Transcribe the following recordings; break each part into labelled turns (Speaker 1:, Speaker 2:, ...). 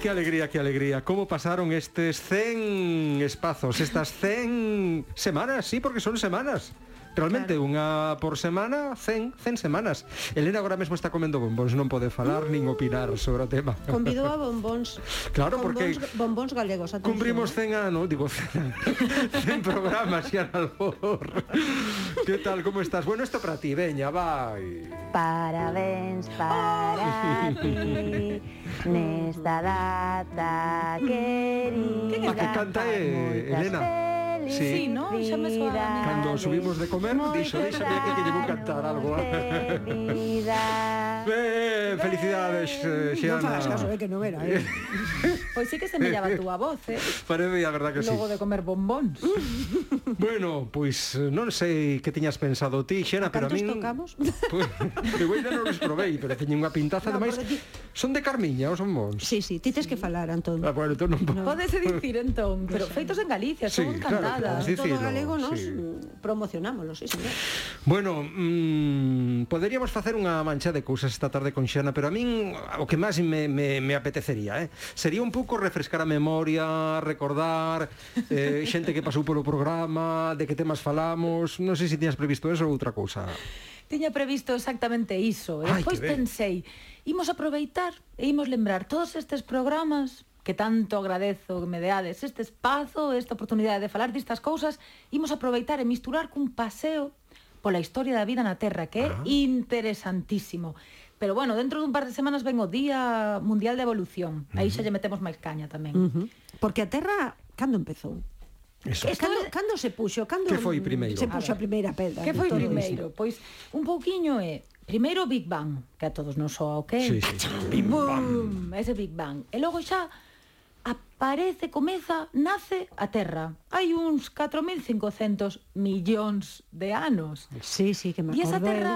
Speaker 1: que alegría, que alegría. ¿Cómo pasaron estos 100 espazos, estas 100 semanas? Sí, porque son semanas. Realmente, claro. unha por semana, 100, 100 semanas. Elena agora mesmo está comendo bombóns, non pode falar mm. nin opinar sobre o tema.
Speaker 2: Convidou a bombóns.
Speaker 1: Claro, bombóns,
Speaker 2: porque bombóns galegos,
Speaker 1: atención. Cumprimos 100 anos, digo 100, 100 programas, Xan Albor. que tal, como estás? Bueno, isto para ti, veña, vai.
Speaker 3: Parabéns para ti nesta data querida.
Speaker 1: A que canta é Elena. Veces
Speaker 4: Sí, sí ¿no? Ya me suena.
Speaker 1: Cando subimos de comer, dixo, déxame aquí que llevo cantar algo. eh, felicidades, eh, Xiana.
Speaker 2: Non fagas caso, eh, que non era, eh.
Speaker 4: pois sí que se me llama a túa voz, eh.
Speaker 1: Parece a verdad que
Speaker 4: Logo
Speaker 1: sí.
Speaker 4: Logo de comer bombóns.
Speaker 1: bueno, pois pues, non sei que tiñas pensado ti, Xena, pero a min...
Speaker 2: tocamos?
Speaker 1: Pues, de Guaida non os probei, pero teñen unha pintaza, no, ademais... Ti... Son de Carmiña, os son bons?
Speaker 2: Sí, sí, ti tens que falar, Antón.
Speaker 1: Ah, bueno, entón non... No.
Speaker 4: Podes dicir, entón, pero feitos en Galicia, sí, son encantada. Claro,
Speaker 2: Dicilo, todo galego nos sí. promocionámoslo, sí, señor.
Speaker 1: Bueno, mmm, poderíamos facer unha mancha de cousas esta tarde con Xana, pero a min o que máis me, me, me apetecería, eh? Sería un pouco refrescar a memoria, recordar eh, xente que pasou polo programa, de que temas falamos, non sei se tiñas previsto eso ou outra cousa.
Speaker 4: Tiña previsto exactamente iso, e despois pensei, imos aproveitar e imos lembrar todos estes programas que tanto agradezo que me deades este espazo, esta oportunidade de falar distas cousas, imos aproveitar e misturar cun paseo pola historia da vida na Terra, que é ah. interesantísimo. Pero bueno, dentro dun par de semanas ven o Día Mundial de Evolución. Aí xa lle metemos máis caña tamén.
Speaker 2: Uh -huh. Porque a Terra, cando empezou?
Speaker 1: Eso.
Speaker 2: Cando, es... cando se puxo? Cando
Speaker 1: que foi primeiro?
Speaker 2: Se puxo a, ver, a primeira pedra.
Speaker 4: Que foi primeiro? Pois un pouquiño é primeiro Big Bang, que a todos nos soa o
Speaker 1: que? Sí, sí. Big Bang.
Speaker 4: Ese Big Bang. E logo xa aparece, comeza, nace a Terra. Hai uns 4.500 millóns de anos.
Speaker 2: Sí, sí, que me
Speaker 4: acordo. E esa Terra,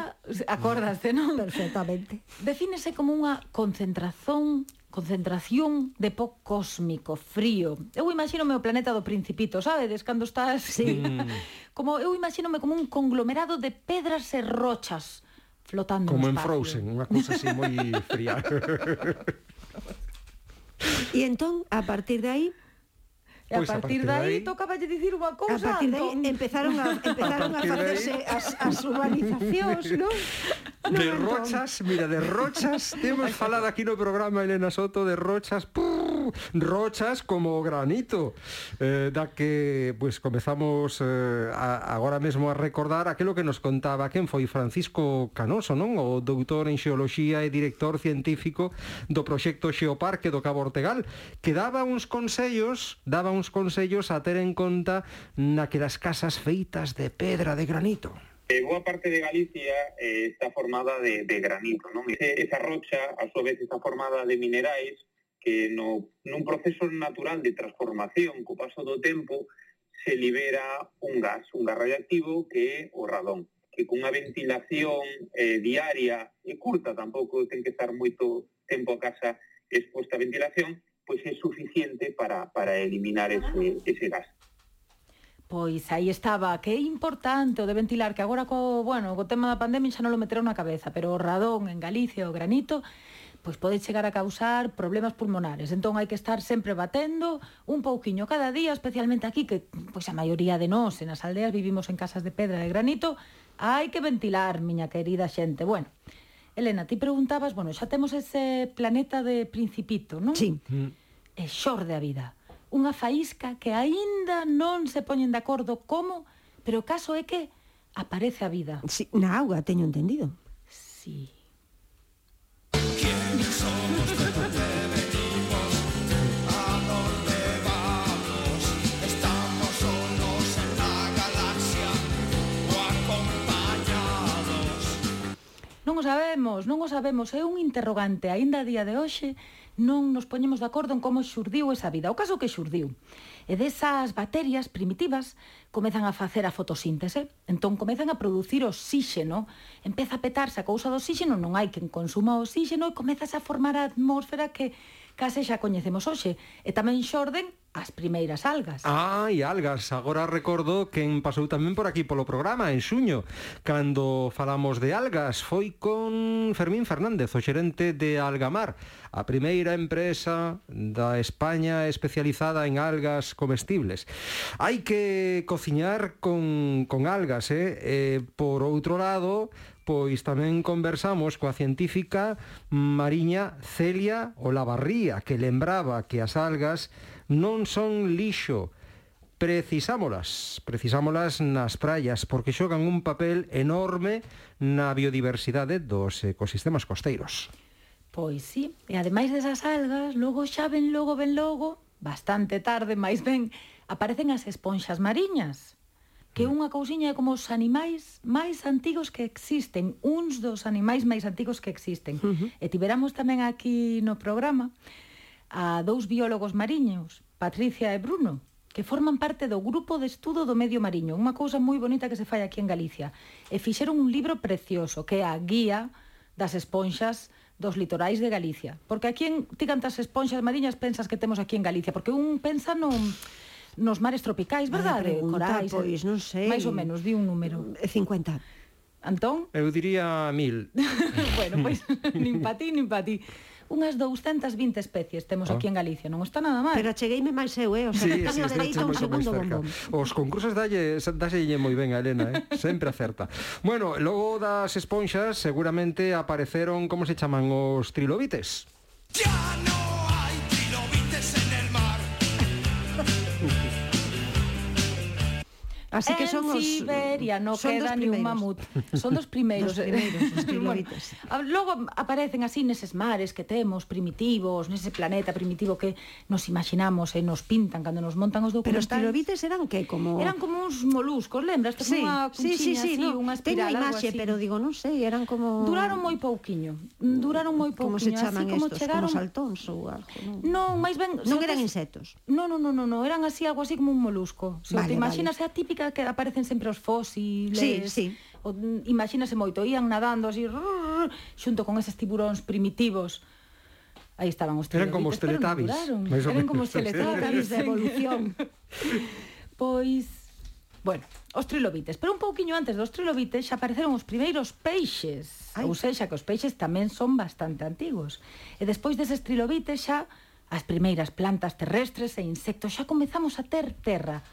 Speaker 4: acordaste, non?
Speaker 2: Perfectamente.
Speaker 4: Defínese como unha concentración concentración de pó cósmico, frío. Eu imagínome o planeta do Principito, sabedes, cando estás...
Speaker 2: Sí.
Speaker 4: como, eu imagínome como un conglomerado de pedras e rochas flotando
Speaker 1: Como
Speaker 4: en
Speaker 1: Frozen, unha cousa así moi fría.
Speaker 2: E entón, a partir de aí,
Speaker 4: E pues Pois a partir, a partir de aí, aí tocaba lle dicir unha cousa.
Speaker 2: A partir de aí empezaron a, empezaron a, a facerse ahí... as, as urbanizacións, non? entón.
Speaker 1: No, de Antón. rochas, mira, de rochas, temos falado aquí no programa Elena Soto de rochas, prrr, rochas como granito, eh, da que pues comezamos eh, a, agora mesmo a recordar aquilo que nos contaba quen foi Francisco Canoso, non? O doutor en xeoloxía e director científico do proxecto Xeoparque do Cabo Ortegal, que daba uns consellos, daba uns consellos a ter en conta naquelas casas feitas de pedra de granito.
Speaker 5: Eh, boa parte de Galicia eh, está formada de, de granito, non? Ese, esa rocha, a súa vez, está formada de minerais que no, nun proceso natural de transformación co paso do tempo se libera un gas, un gas radiactivo que é o radón que cunha ventilación eh, diaria e curta, tampouco ten que estar moito tempo a casa exposta a ventilación, pois é suficiente para, para eliminar ese, ese gas.
Speaker 4: Pois aí estaba, que é importante o de ventilar, que agora co, bueno, co tema da pandemia xa non lo meteron na cabeza, pero o radón en Galicia, o granito, pois pode chegar a causar problemas pulmonares. Entón hai que estar sempre batendo un pouquiño cada día, especialmente aquí que pois a maioría de nós en as aldeas vivimos en casas de pedra de granito, hai que ventilar, miña querida xente. Bueno, Elena, ti preguntabas, bueno, xa temos ese planeta de Principito, non?
Speaker 2: Sí.
Speaker 4: E xorde a vida unha faísca que aínda non se poñen de acordo como, pero o caso é que aparece a vida.
Speaker 2: Sí, na auga, teño entendido.
Speaker 4: Sí.
Speaker 6: ¿Quién somos de dónde venimos? ¿A dónde vamos? ¿Estamos solos en la galaxia o acompañados?
Speaker 4: Non o sabemos, non o sabemos. É un interrogante aínda a día de hoxe non nos poñemos de acordo en como xurdiu esa vida, o caso que xurdiu. E desas bacterias primitivas comezan a facer a fotosíntese, entón comezan a producir oxígeno, empeza a petarse a cousa do oxígeno, non hai quen consuma oxígeno e comezas a formar a atmósfera que case xa coñecemos hoxe. E tamén xorden as primeiras
Speaker 1: Ah,
Speaker 4: algas.
Speaker 1: Ai, algas, agora recordo quen pasou tamén por aquí polo programa en xuño Cando falamos de algas foi con Fermín Fernández, o xerente de Algamar A primeira empresa da España especializada en algas comestibles Hai que cociñar con, con algas, eh? eh por outro lado, pois tamén conversamos coa científica mariña Celia Olavarría, que lembraba que as algas non son lixo, precisámolas, precisámolas nas praias, porque xogan un papel enorme na biodiversidade dos ecosistemas costeiros.
Speaker 4: Pois sí, e ademais desas algas, logo xa ben logo ben logo, bastante tarde, máis ben, aparecen as esponxas mariñas que unha cousiña é como os animais máis antigos que existen, uns dos animais máis antigos que existen. Uh -huh. E tiveramos tamén aquí no programa a dous biólogos mariños, Patricia e Bruno, que forman parte do grupo de estudo do medio mariño, unha cousa moi bonita que se fai aquí en Galicia. E fixeron un libro precioso, que é a guía das esponxas dos litorais de Galicia. Porque aquí en ti cantas esponxas mariñas pensas que temos aquí en Galicia, porque un pensa non nos mares tropicais, verdade?
Speaker 2: Corais, pois, non sei.
Speaker 4: eh?
Speaker 2: Eh,
Speaker 4: Máis ou menos, di un número.
Speaker 2: 50.
Speaker 4: Antón?
Speaker 1: Eu diría mil.
Speaker 4: bueno, pois, nin pa ti, nin pa ti. Unhas 220 especies temos aquí en Galicia, non está nada mal.
Speaker 2: Pero chegueime máis eu, eh? O sea, sí, sí, dereita un
Speaker 1: moito máis
Speaker 2: segundo
Speaker 1: cerca.
Speaker 2: bombón.
Speaker 1: Os concursos dalle, dalle moi ben a Elena, eh? sempre acerta. Bueno, logo das esponxas seguramente apareceron, como se chaman, os trilobites.
Speaker 6: Ya no hay trilobites en el mar.
Speaker 2: Así que son
Speaker 4: en
Speaker 2: os...
Speaker 4: Siberia non
Speaker 2: son dos
Speaker 4: queda ni un mamut.
Speaker 2: primeiros.
Speaker 4: Son dos primeiros.
Speaker 2: Dos primeiros, os trilobites.
Speaker 4: Bueno, a- logo aparecen así neses mares que temos primitivos, nese planeta primitivo que nos imaginamos e nos pintan cando nos montan os
Speaker 2: Pero os
Speaker 4: documentais.
Speaker 2: tirobites eran que como...
Speaker 4: Eran como uns moluscos, lembras?
Speaker 2: Sí,
Speaker 4: Como
Speaker 2: sí, sí,
Speaker 4: así,
Speaker 2: sí, no,
Speaker 4: unha espiral,
Speaker 2: Teño a
Speaker 4: algo
Speaker 2: imaxe,
Speaker 4: así.
Speaker 2: pero digo, non sei, eran como...
Speaker 4: Duraron moi pouquiño. Duraron moi pouquiño.
Speaker 2: Como se
Speaker 4: así
Speaker 2: chaman
Speaker 4: como
Speaker 2: estos,
Speaker 4: chegaron...
Speaker 2: como saltóns ou algo, non?
Speaker 4: Non, máis ben... se
Speaker 2: Non eran
Speaker 4: tes-
Speaker 2: insectos.
Speaker 4: Non, non, non, non, non, eran así algo así como un molusco. Se vale,
Speaker 2: Vale,
Speaker 4: te imaginas vale. a típica que aparecen sempre os fósiles.
Speaker 2: Sí, sí.
Speaker 4: O, mm, imagínase moito, ían nadando así rrr, xunto con eses tiburóns primitivos. Aí estaban os
Speaker 1: Eran como os
Speaker 4: trilobites, pero
Speaker 1: teletubbies,
Speaker 4: non duraron.
Speaker 1: máis ou
Speaker 4: Eran como
Speaker 1: menos.
Speaker 4: os teletabis de
Speaker 2: Sí.
Speaker 4: evolución. pois, bueno, os trilobites. Pero un pouquiño antes dos trilobites xa apareceron os primeiros peixes.
Speaker 2: Ai.
Speaker 4: Ou seja, que os peixes tamén son bastante antigos. E despois deses trilobites xa as primeiras plantas terrestres e insectos xa comezamos a ter terra.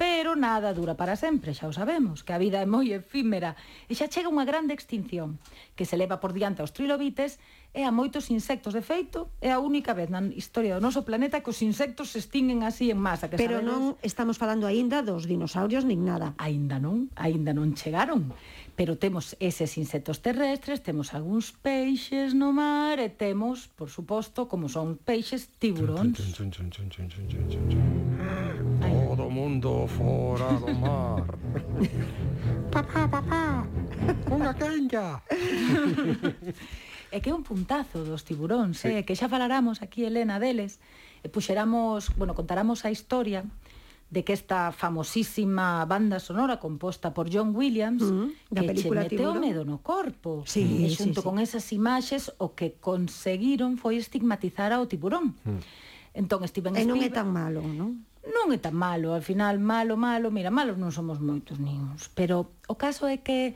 Speaker 4: Pero nada dura para sempre, xa o sabemos, que a vida é moi efímera e xa chega unha grande extinción que se leva por diante aos trilobites e a moitos insectos. De feito, é a única vez na historia do noso planeta que os insectos se extinguen así en masa. Que
Speaker 2: Pero
Speaker 4: sabedes-
Speaker 2: non estamos falando aínda dos dinosaurios nin nada.
Speaker 4: aínda non, aínda non chegaron. Pero temos eses insectos terrestres, temos algúns peixes no mar e temos, por suposto, como son peixes, tiburóns.
Speaker 1: Chun, chun, chun, chun, chun, chun, chun, chun. Todo mundo fora do mar. papá, papá, unha quenlla.
Speaker 4: E que é un puntazo dos tiburóns, sí. eh? que xa falaramos aquí, Elena, deles, e puxeramos, bueno, contaramos a historia de que esta famosísima banda sonora composta por John Williams
Speaker 2: Mm, da
Speaker 4: que
Speaker 2: película
Speaker 4: che meteu
Speaker 2: Tiburón.
Speaker 4: medo no corpo e
Speaker 2: Sí, sí,
Speaker 4: xunto
Speaker 2: sí.
Speaker 4: con esas imaxes o que conseguiron foi estigmatizar ao tiburón
Speaker 2: Mm.
Speaker 4: entón Steven
Speaker 2: E non é
Speaker 4: Spielberg-
Speaker 2: tan malo, non?
Speaker 4: non é tan malo, al final malo, malo, mira, malos non somos moitos niños, pero o caso é que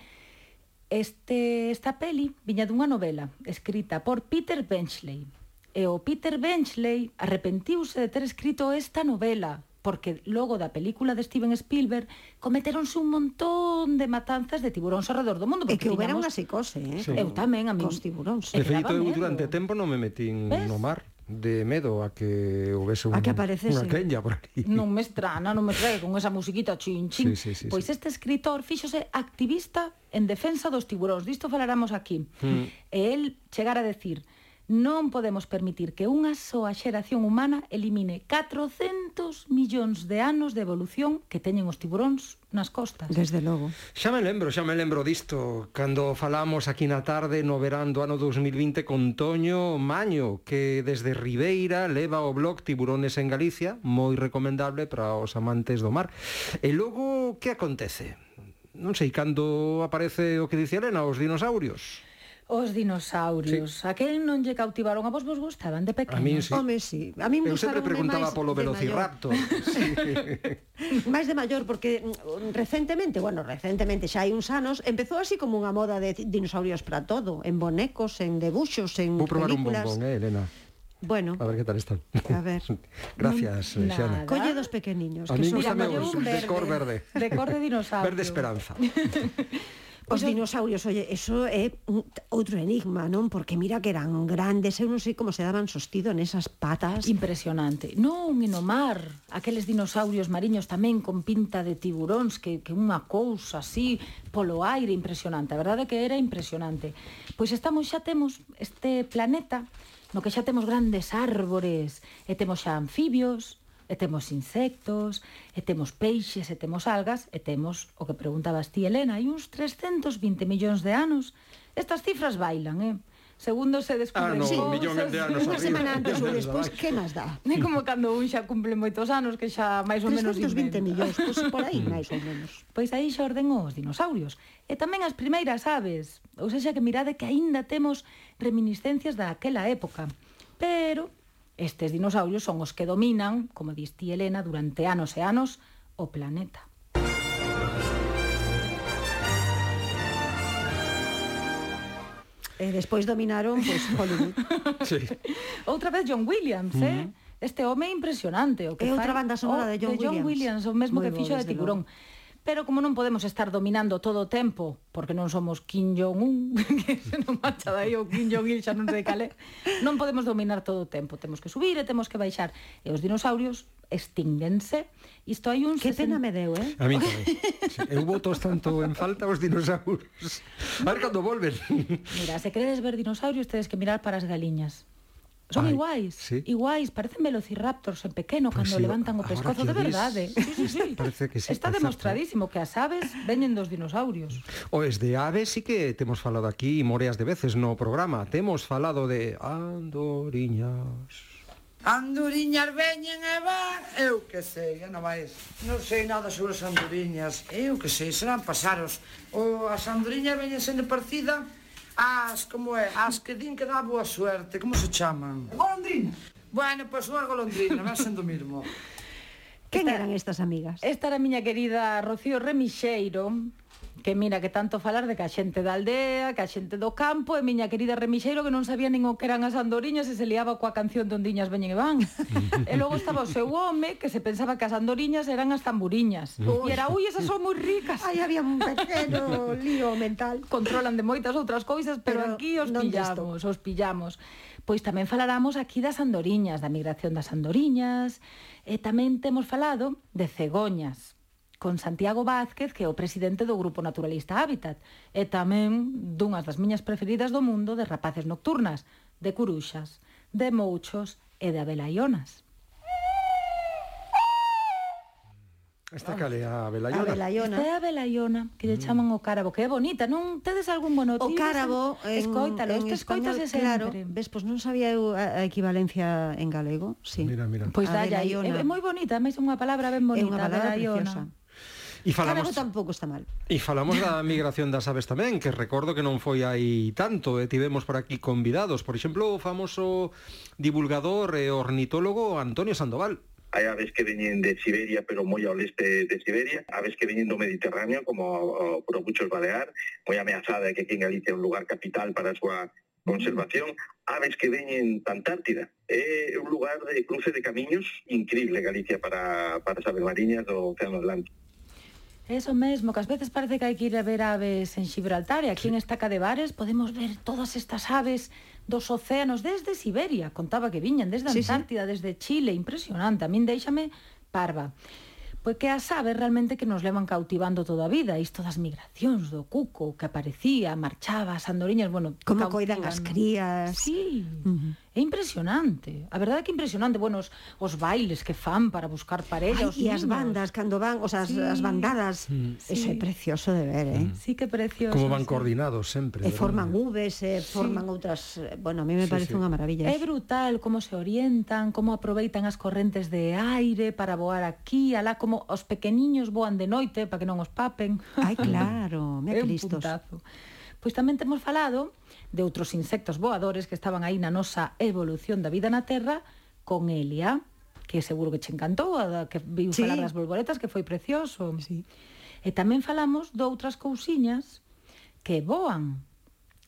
Speaker 4: este esta peli viña dunha novela escrita por Peter Benchley. E o Peter Benchley arrepentiuse de ter escrito esta novela porque logo da película de Steven Spielberg cometeronse un montón de matanzas de tiburóns alrededor do mundo.
Speaker 2: É que houbera unha
Speaker 4: tiñamos-
Speaker 2: psicose, eh?
Speaker 1: Sí.
Speaker 4: Eu tamén, a mí.
Speaker 2: Cos tiburóns.
Speaker 1: De
Speaker 4: E que
Speaker 1: feito,
Speaker 4: daba
Speaker 1: eu
Speaker 4: medo.
Speaker 1: durante tempo non me metín
Speaker 4: Ves?
Speaker 1: no mar de medo a que houvese un,
Speaker 2: A que aparecese.
Speaker 1: unha quenlla por aquí.
Speaker 4: Non me estrana, non me trae con esa musiquita chin chin.
Speaker 1: Sí, sí, sí,
Speaker 4: pois
Speaker 1: sí.
Speaker 4: este escritor fíxose activista en defensa dos tiburóns. Disto falaramos aquí.
Speaker 1: Hmm.
Speaker 4: Mm. E el chegara a decir Non podemos permitir que unha soa xeración humana elimine 400 millóns de anos de evolución que teñen os tiburóns nas costas.
Speaker 2: Desde logo.
Speaker 1: Xa me lembro, xa me lembro disto Cando falamos aquí na tarde no verán do ano 2020 con Toño Maño Que desde Ribeira leva o blog Tiburones en Galicia Moi recomendable para os amantes do mar E logo, que acontece? Non sei, cando aparece o que dice Elena, os dinosaurios
Speaker 4: os dinosaurios. A quen non lle cautivaron? A vos vos gustaban de
Speaker 1: A
Speaker 4: pequeno?
Speaker 1: min sí.
Speaker 2: Home, sí. A mí me
Speaker 1: Eu sempre
Speaker 2: gustaron
Speaker 1: preguntaba
Speaker 2: máis
Speaker 1: polo
Speaker 2: de
Speaker 1: velociraptor. Sí.
Speaker 2: maior. Máis de maior, porque mm, recentemente, bueno, recentemente, xa hai uns anos, empezou así como unha moda de dinosaurios para todo, en bonecos, en debuxos, en
Speaker 1: Vou probar un
Speaker 2: películas.
Speaker 1: bombón, eh, Elena.
Speaker 2: Bueno,
Speaker 1: A ver que tal están.
Speaker 2: A ver.
Speaker 1: Gracias, eh, Xana.
Speaker 4: Nada.
Speaker 2: colle dos pequeniños.
Speaker 1: A mí
Speaker 2: que son-
Speaker 1: me gusta
Speaker 4: Mira,
Speaker 1: os
Speaker 4: colleu un
Speaker 1: de cor verde.
Speaker 4: De cor de dinosaurio.
Speaker 1: Verde esperanza.
Speaker 2: Os dinosaurios, oye, eso é un- outro enigma, non? Porque mira que eran grandes, eu non sei como se daban sostido nesas patas.
Speaker 4: Impresionante. Non, e no mar, aqueles dinosaurios mariños tamén con pinta de tiburóns, que, que unha cousa así polo aire impresionante. A verdade é que era impresionante. Pois estamos xa temos este planeta no que xa temos grandes árbores, e temos xa anfibios, e temos insectos, e temos peixes, e temos algas, e temos o que preguntabas ti, Elena, hai uns 320 millóns de anos. Estas cifras bailan, eh? Segundo se descubren
Speaker 1: Ah, no,
Speaker 4: cousas.
Speaker 1: millón de anos
Speaker 2: Unha
Speaker 1: arriba.
Speaker 2: semana antes ou
Speaker 1: Desde
Speaker 2: despois,
Speaker 1: abaixo.
Speaker 2: que máis dá?
Speaker 4: É como cando un xa cumple moitos anos que xa máis ou menos
Speaker 2: 320
Speaker 4: inventa.
Speaker 2: millóns, pois por aí
Speaker 1: Mm.
Speaker 2: máis ou menos.
Speaker 4: Pois aí xa orden os dinosaurios e tamén as primeiras aves. Ou seja, que mirade que aínda temos reminiscencias daquela época. Pero estes dinosaurios son os que dominan, como dis ti Elena, durante anos e anos o planeta.
Speaker 2: E despois Eh, dominaron pois Hollywood.
Speaker 1: Sí.
Speaker 4: Outra vez John Williams, eh? Este home é impresionante. O que
Speaker 2: É outra
Speaker 4: fai-
Speaker 2: banda sonora
Speaker 4: o-
Speaker 2: de John Williams.
Speaker 4: o mesmo que
Speaker 2: Moi bo,
Speaker 4: fixo de
Speaker 2: desde
Speaker 4: Tiburón. Pero como non podemos estar dominando todo o tempo, porque non somos Kim Jong-un, que se non marcha dai o Kim Jong-il xa non sei cal é, non podemos dominar todo o tempo. Temos que subir e temos que baixar. E os dinosaurios extínguense. Isto hai un...
Speaker 2: Que
Speaker 4: 60
Speaker 2: pena me deu, eh?
Speaker 1: A mí tamén. Sí. Eu votos tanto en falta os dinosaurios. A ver cando volven.
Speaker 4: Mira, se queredes ver dinosaurios, tedes que mirar para as galiñas. Son
Speaker 1: Ai,
Speaker 4: iguais,
Speaker 1: sí.
Speaker 4: iguais, parecen velociraptors en pequeno
Speaker 1: Pois
Speaker 4: cando
Speaker 1: sí,
Speaker 4: levantan o
Speaker 1: ahora
Speaker 4: pescozo,
Speaker 1: que o
Speaker 4: de
Speaker 1: dis,
Speaker 4: verdade. Sí, sí, sí.
Speaker 1: parece que sí,
Speaker 4: Está
Speaker 1: é certo.
Speaker 4: demostradísimo que as aves veñen dos dinosaurios.
Speaker 1: Oes de aves sí que temos falado aquí moreas de veces no programa. Temos falado de andoriñas.
Speaker 7: Anduriñas veñen e van, eu que sei, eu non vais. Non sei nada sobre as anduriñas, eu que sei, serán pasaros. O as anduriñas veñen sendo partida as, como é, as que din que dá boa suerte, como se chaman? Golondrina. Bueno, pois unha golondrina, vai sendo o mismo.
Speaker 2: Quen eran estas amigas?
Speaker 4: Esta era a miña querida Rocío Remixeiro, que mira que tanto falar de que a xente da aldea, que a xente do campo, e miña querida Remixeiro que non sabía nin o que eran as andoriñas e se liaba coa canción de Ondiñas veñen e van. e logo estaba o seu home que se pensaba que as andoriñas eran as tamburiñas. E era, ui, esas son moi ricas.
Speaker 2: Aí había un pequeno lío mental.
Speaker 4: controlan de moitas outras cousas, pero,
Speaker 2: Pero
Speaker 4: aquí os
Speaker 2: non
Speaker 4: pillamos, os pillamos. Pois tamén falaramos aquí das andoriñas, da migración das andoriñas, e tamén temos falado de cegoñas con Santiago Vázquez, que é o presidente do Grupo Naturalista Hábitat, e tamén dunhas das miñas preferidas do mundo de rapaces nocturnas, de curuxas, de mouchos e de abelaionas.
Speaker 1: Esta cale a
Speaker 2: A
Speaker 1: Belayona.
Speaker 4: Esta é
Speaker 2: Belayona.
Speaker 4: a abelaiona, que lle chaman o cárabo, que é bonita, non tedes algún bono?
Speaker 2: O cárabo en,
Speaker 4: Escoítalo,
Speaker 2: en
Speaker 4: este escoitas
Speaker 2: español,
Speaker 4: sempre.
Speaker 2: claro, ves, pois non sabía eu a, a equivalencia en galego, sí.
Speaker 1: Mira, mira.
Speaker 4: Pois
Speaker 2: A
Speaker 4: dalla aí.
Speaker 2: velaiona.
Speaker 4: É, é moi bonita, máis é unha palabra ben
Speaker 2: é
Speaker 4: bonita.
Speaker 2: unha palabra
Speaker 4: velaiona.
Speaker 2: preciosa.
Speaker 1: E
Speaker 2: Cárabo
Speaker 1: falamos
Speaker 2: tampouco está mal.
Speaker 1: E falamos da migración das aves tamén, que recordo que non foi aí tanto, e tivemos por aquí convidados, por exemplo, o famoso divulgador e ornitólogo Antonio Sandoval.
Speaker 5: Hay aves que vienen de Siberia, pero muy al este de Siberia, aves que vienen del Mediterráneo, como por muchos Balear, muy amenazada que aquí en Galicia es un lugar capital para su conservación, aves que vienen de Antártida. Es un lugar de cruce de caminos increíble Galicia para, para as aves mariñas do Océano Atlántico.
Speaker 4: Eso mesmo, que ás veces parece que hai que ir a ver aves en Gibraltar e aquí en Estaca de Bares podemos ver todas estas aves dos océanos desde Siberia, contaba que viñan desde
Speaker 2: Sí, sí.
Speaker 4: Antártida, desde Chile, impresionante, a min déixame parva. Pois que as aves realmente que nos levan cautivando toda a vida, isto das migracións, do cuco que aparecía, marchaba, as andoriñas, bueno,
Speaker 2: Como coidan as
Speaker 4: cautivan.
Speaker 2: crías.
Speaker 4: Sí, é impresionante. A verdade é que é impresionante, bueno, os, os bailes que fan para buscar
Speaker 2: Ai,
Speaker 4: parella, os
Speaker 2: e as
Speaker 4: niños.
Speaker 2: ¿eh? bandas cando van, o sea, as,
Speaker 4: Sí.
Speaker 2: as bandadas, eso
Speaker 4: Sí.
Speaker 2: é precioso de ver, eh.
Speaker 1: Mm,
Speaker 4: Sí, que precioso.
Speaker 1: Como van
Speaker 4: sí.
Speaker 1: coordinados sempre.
Speaker 2: E
Speaker 1: verdade?
Speaker 2: forman Vs, e forman outras, eh, bueno, a mí me
Speaker 1: Sí,
Speaker 2: parece
Speaker 1: sí.
Speaker 2: unha maravilla.
Speaker 4: É
Speaker 2: eso.
Speaker 4: brutal como se orientan, como aproveitan as correntes de aire para voar aquí, alá como os pequeniños voan de noite para que non os papen.
Speaker 2: Ai, claro, me
Speaker 4: É un
Speaker 2: listos.
Speaker 4: puntazo. Pois tamén temos falado de outros insectos voadores que estaban aí na nosa evolución da vida na Terra con Elia, que seguro que che encantou, a da que viu
Speaker 2: Sí.
Speaker 4: sí. falar das bolboretas, que foi precioso. Sí. E tamén falamos de outras cousiñas que voan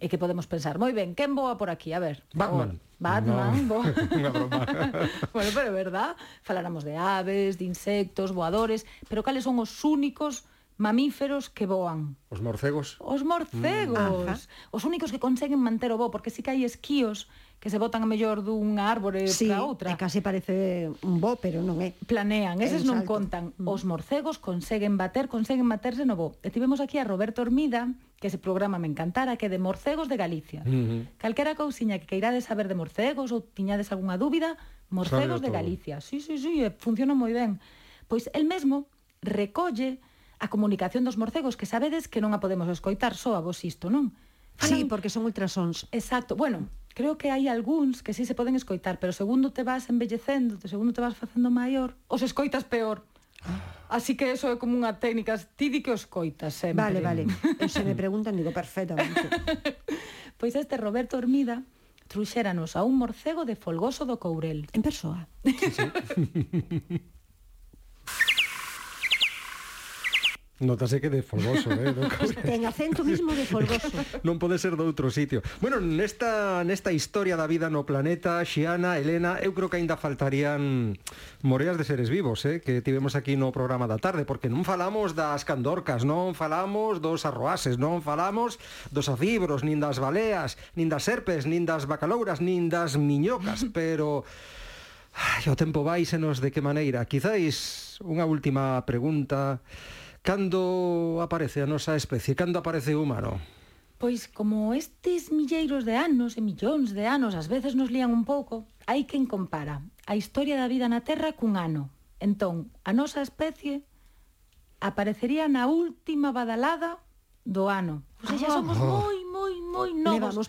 Speaker 4: e que podemos pensar, moi ben, quen voa por aquí? A ver.
Speaker 1: Batman.
Speaker 4: Oh, Batman,
Speaker 1: No,
Speaker 4: voa.
Speaker 1: unha broma.
Speaker 4: bueno, pero é verdad, faláramos de aves, de insectos, voadores, pero cales son os únicos mamíferos que voan?
Speaker 1: Os morcegos.
Speaker 4: Os morcegos,
Speaker 2: Ajá.
Speaker 4: os únicos que conseguen manter o voo, porque sí que hai esquíos que se botan a mellor dunha árbore
Speaker 2: Sí,
Speaker 4: para outra.
Speaker 2: e case parece un bo, pero ¿eh? non é.
Speaker 4: Planean,
Speaker 2: É
Speaker 4: eses
Speaker 2: un
Speaker 4: non
Speaker 2: salto.
Speaker 4: contan. Os morcegos conseguen bater, conseguen baterse no voo. E tivemos aquí a Roberto Hormida, que ese programa me encantara, que é de morcegos de Galicia.
Speaker 1: Mhm.
Speaker 4: Calquera cousiña que queirades saber de morcegos ou tiñades algunha dúbida,
Speaker 1: Sábelo
Speaker 4: morcegos de
Speaker 1: todo.
Speaker 4: Galicia. Sí, sí, sí, e funciona moi ben. Pois el mesmo recolle a comunicación dos morcegos, que sabedes que non a podemos escoitar, só a vos isto, non?
Speaker 2: Sí,
Speaker 4: Falan-
Speaker 2: porque son ultrasons.
Speaker 4: Exacto. Bueno, creo que hai algúns que sí se poden escoitar, pero segundo te vas embellecendo, te segundo te vas facendo maior, os escoitas peor. Así que eso é como unha técnica, ti di que os coitas sempre.
Speaker 2: Vale, vale. Eu se me preguntan, digo, perfectamente.
Speaker 4: Pois este Roberto Hormida truxéranos a un morcego de Folgoso do Courel.
Speaker 2: En persoa.
Speaker 1: Notase que de folgoso, eh? do cobre.
Speaker 2: Ten acento mismo de folgoso.
Speaker 1: non pode ser de outro sitio. Bueno, nesta, nesta historia da vida no planeta, Xiana, Elena, eu creo que aínda faltarían moreas de seres vivos, eh, que tivemos aquí no programa da tarde, porque non falamos das candorcas, non falamos dos arroases, non falamos dos acibros, nin das baleas, nin das serpes, nin das bacalouras, nin das miñocas, pero... Ai, o tempo vai, senos de que maneira. Quizáis unha última pregunta. Cando aparece a nosa especie? Cando aparece o humano?
Speaker 4: Pois como estes milleiros de anos e millóns de anos ás veces nos lían un pouco, hai quen compara a historia da vida na Terra cun ano. Entón, a nosa especie aparecería na última badalada do ano. Ou seja, somos moi, moi, moi
Speaker 2: Levamos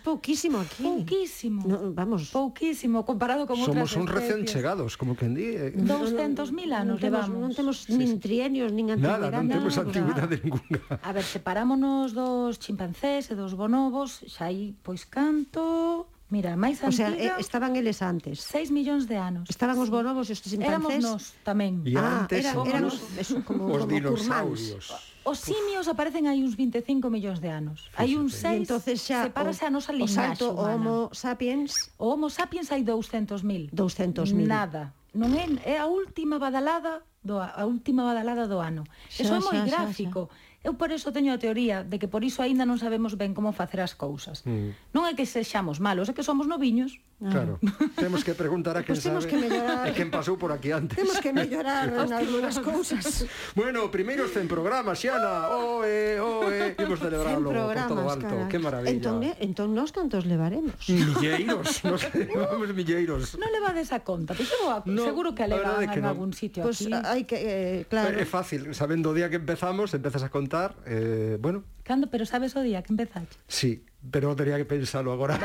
Speaker 4: novos.
Speaker 2: pouquísimo Ah. aquí.
Speaker 4: Pouquísimo.
Speaker 2: No, vamos.
Speaker 4: Pouquísimo comparado con
Speaker 1: Somos
Speaker 4: outras
Speaker 1: un recién
Speaker 4: especies.
Speaker 1: chegados, como quen di. eh.
Speaker 4: 200.000 anos
Speaker 2: non temos,
Speaker 4: levamos.
Speaker 2: Non temos nin trienios, nin
Speaker 1: Nada,
Speaker 2: antigüedade.
Speaker 1: non temos
Speaker 4: nada.
Speaker 1: antigüidade ninguna.
Speaker 4: A ver, separámonos dos chimpancés e dos bonobos, xa hai, pois, canto... Mira, a máis
Speaker 2: O sea, eh,
Speaker 4: antiga...
Speaker 2: estaban eles antes.
Speaker 4: 6 millóns de anos.
Speaker 2: Estaban os bonobos e os
Speaker 4: Éramos
Speaker 2: chimpancés.
Speaker 4: nós tamén.
Speaker 1: E
Speaker 2: Ah,
Speaker 1: antes
Speaker 2: eran-
Speaker 1: somos
Speaker 2: eran
Speaker 1: os,
Speaker 2: os- eso, como-
Speaker 1: os
Speaker 2: como
Speaker 1: dinosaurios.
Speaker 4: Os simios aparecen hai uns 25 millóns de anos. Hai uns
Speaker 2: E
Speaker 4: 6,
Speaker 2: entonces xa
Speaker 4: sepárase a nosa
Speaker 2: o
Speaker 4: linhaxe
Speaker 2: salto
Speaker 4: humana.
Speaker 2: o Homo sapiens
Speaker 4: O Homo sapiens hai 200.000.
Speaker 2: 200.000.
Speaker 4: Nada. Non é, é a última badalada do a a última badalada do ano.
Speaker 2: Xa,
Speaker 4: Eso é moi
Speaker 2: xa, xa,
Speaker 4: gráfico. Eu por eso teño a teoría de que por iso aínda non sabemos ben como facer as cousas. Mm. Non é que sexamos malos, é que somos noviños.
Speaker 1: Claro. Temos que preguntar a quen
Speaker 2: Pois temos
Speaker 1: sabe
Speaker 2: Ah. que mellorar.
Speaker 1: e quen pasou por aquí antes.
Speaker 2: Temos que mellorar en algunhas cousas.
Speaker 1: Bueno, primeiros 100 programas, Xana. Oe, oe. Imos celebrarlo por todo o alto.
Speaker 2: carai.
Speaker 1: Que maravilla.
Speaker 2: Entón, eh, entón nós cantos levaremos?
Speaker 4: Mm.
Speaker 1: Milleiros, nos levamos milleiros.
Speaker 4: Non levades a conta, pois eu a-
Speaker 1: No,
Speaker 4: seguro que a
Speaker 1: a verdade é
Speaker 4: levan
Speaker 1: que
Speaker 4: en
Speaker 1: non.
Speaker 4: algún sitio
Speaker 2: Pois
Speaker 4: aquí.
Speaker 2: hai que, eh, claro,
Speaker 1: É fácil, sabendo o día que empezamos, empezas a contar, eh, bueno,
Speaker 4: Cando, pero sabes o día que empezaxe?
Speaker 1: sí, pero tenía que pensalo agora.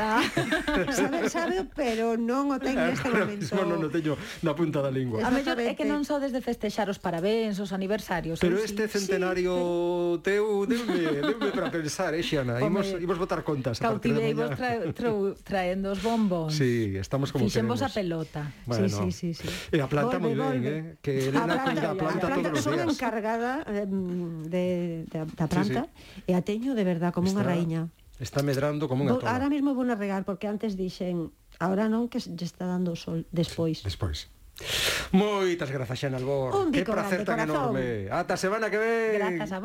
Speaker 2: sabe, sabe, pero non o ten neste
Speaker 1: Ahora
Speaker 2: momento.
Speaker 1: mismo non o teño na punta da lingua.
Speaker 4: A mellor é que non
Speaker 2: Exactamente.
Speaker 4: só desde festexar os parabéns, os aniversarios.
Speaker 1: Pero
Speaker 4: eu
Speaker 1: este
Speaker 4: sí.
Speaker 1: centenario teu deume, deume para pensar, eh, Xiana? Imos,
Speaker 4: Home,
Speaker 1: imos botar contas a partir de
Speaker 4: Cautivei vos
Speaker 1: mañá.
Speaker 4: tra, tra, traendo os bombóns.
Speaker 1: Sí, estamos como
Speaker 4: Fixen vos a
Speaker 1: queremos.
Speaker 4: pelota.
Speaker 1: Bueno.
Speaker 2: Sí, sí, sí, sí.
Speaker 1: E a planta moi
Speaker 2: Volve,
Speaker 1: ben,
Speaker 2: volve.
Speaker 1: eh? Que Elena cuida a planta,
Speaker 2: a planta
Speaker 1: todos os
Speaker 2: son
Speaker 1: días.
Speaker 2: encargada eh, de, de, da planta e a teño de verdad como unha
Speaker 1: Está-
Speaker 2: raíña.
Speaker 1: Está medrando como unha
Speaker 2: Vou- Ahora
Speaker 1: tola.
Speaker 2: mesmo vou a regar porque antes dixen ahora non que lle está dando o sol despois.
Speaker 1: Despois. Moitas grazas, Xana Albor.
Speaker 2: Un
Speaker 1: Que
Speaker 2: bico
Speaker 1: placer tan
Speaker 2: grande, corazón.
Speaker 1: enorme. Ata semana que ven.
Speaker 4: Grazas a vos.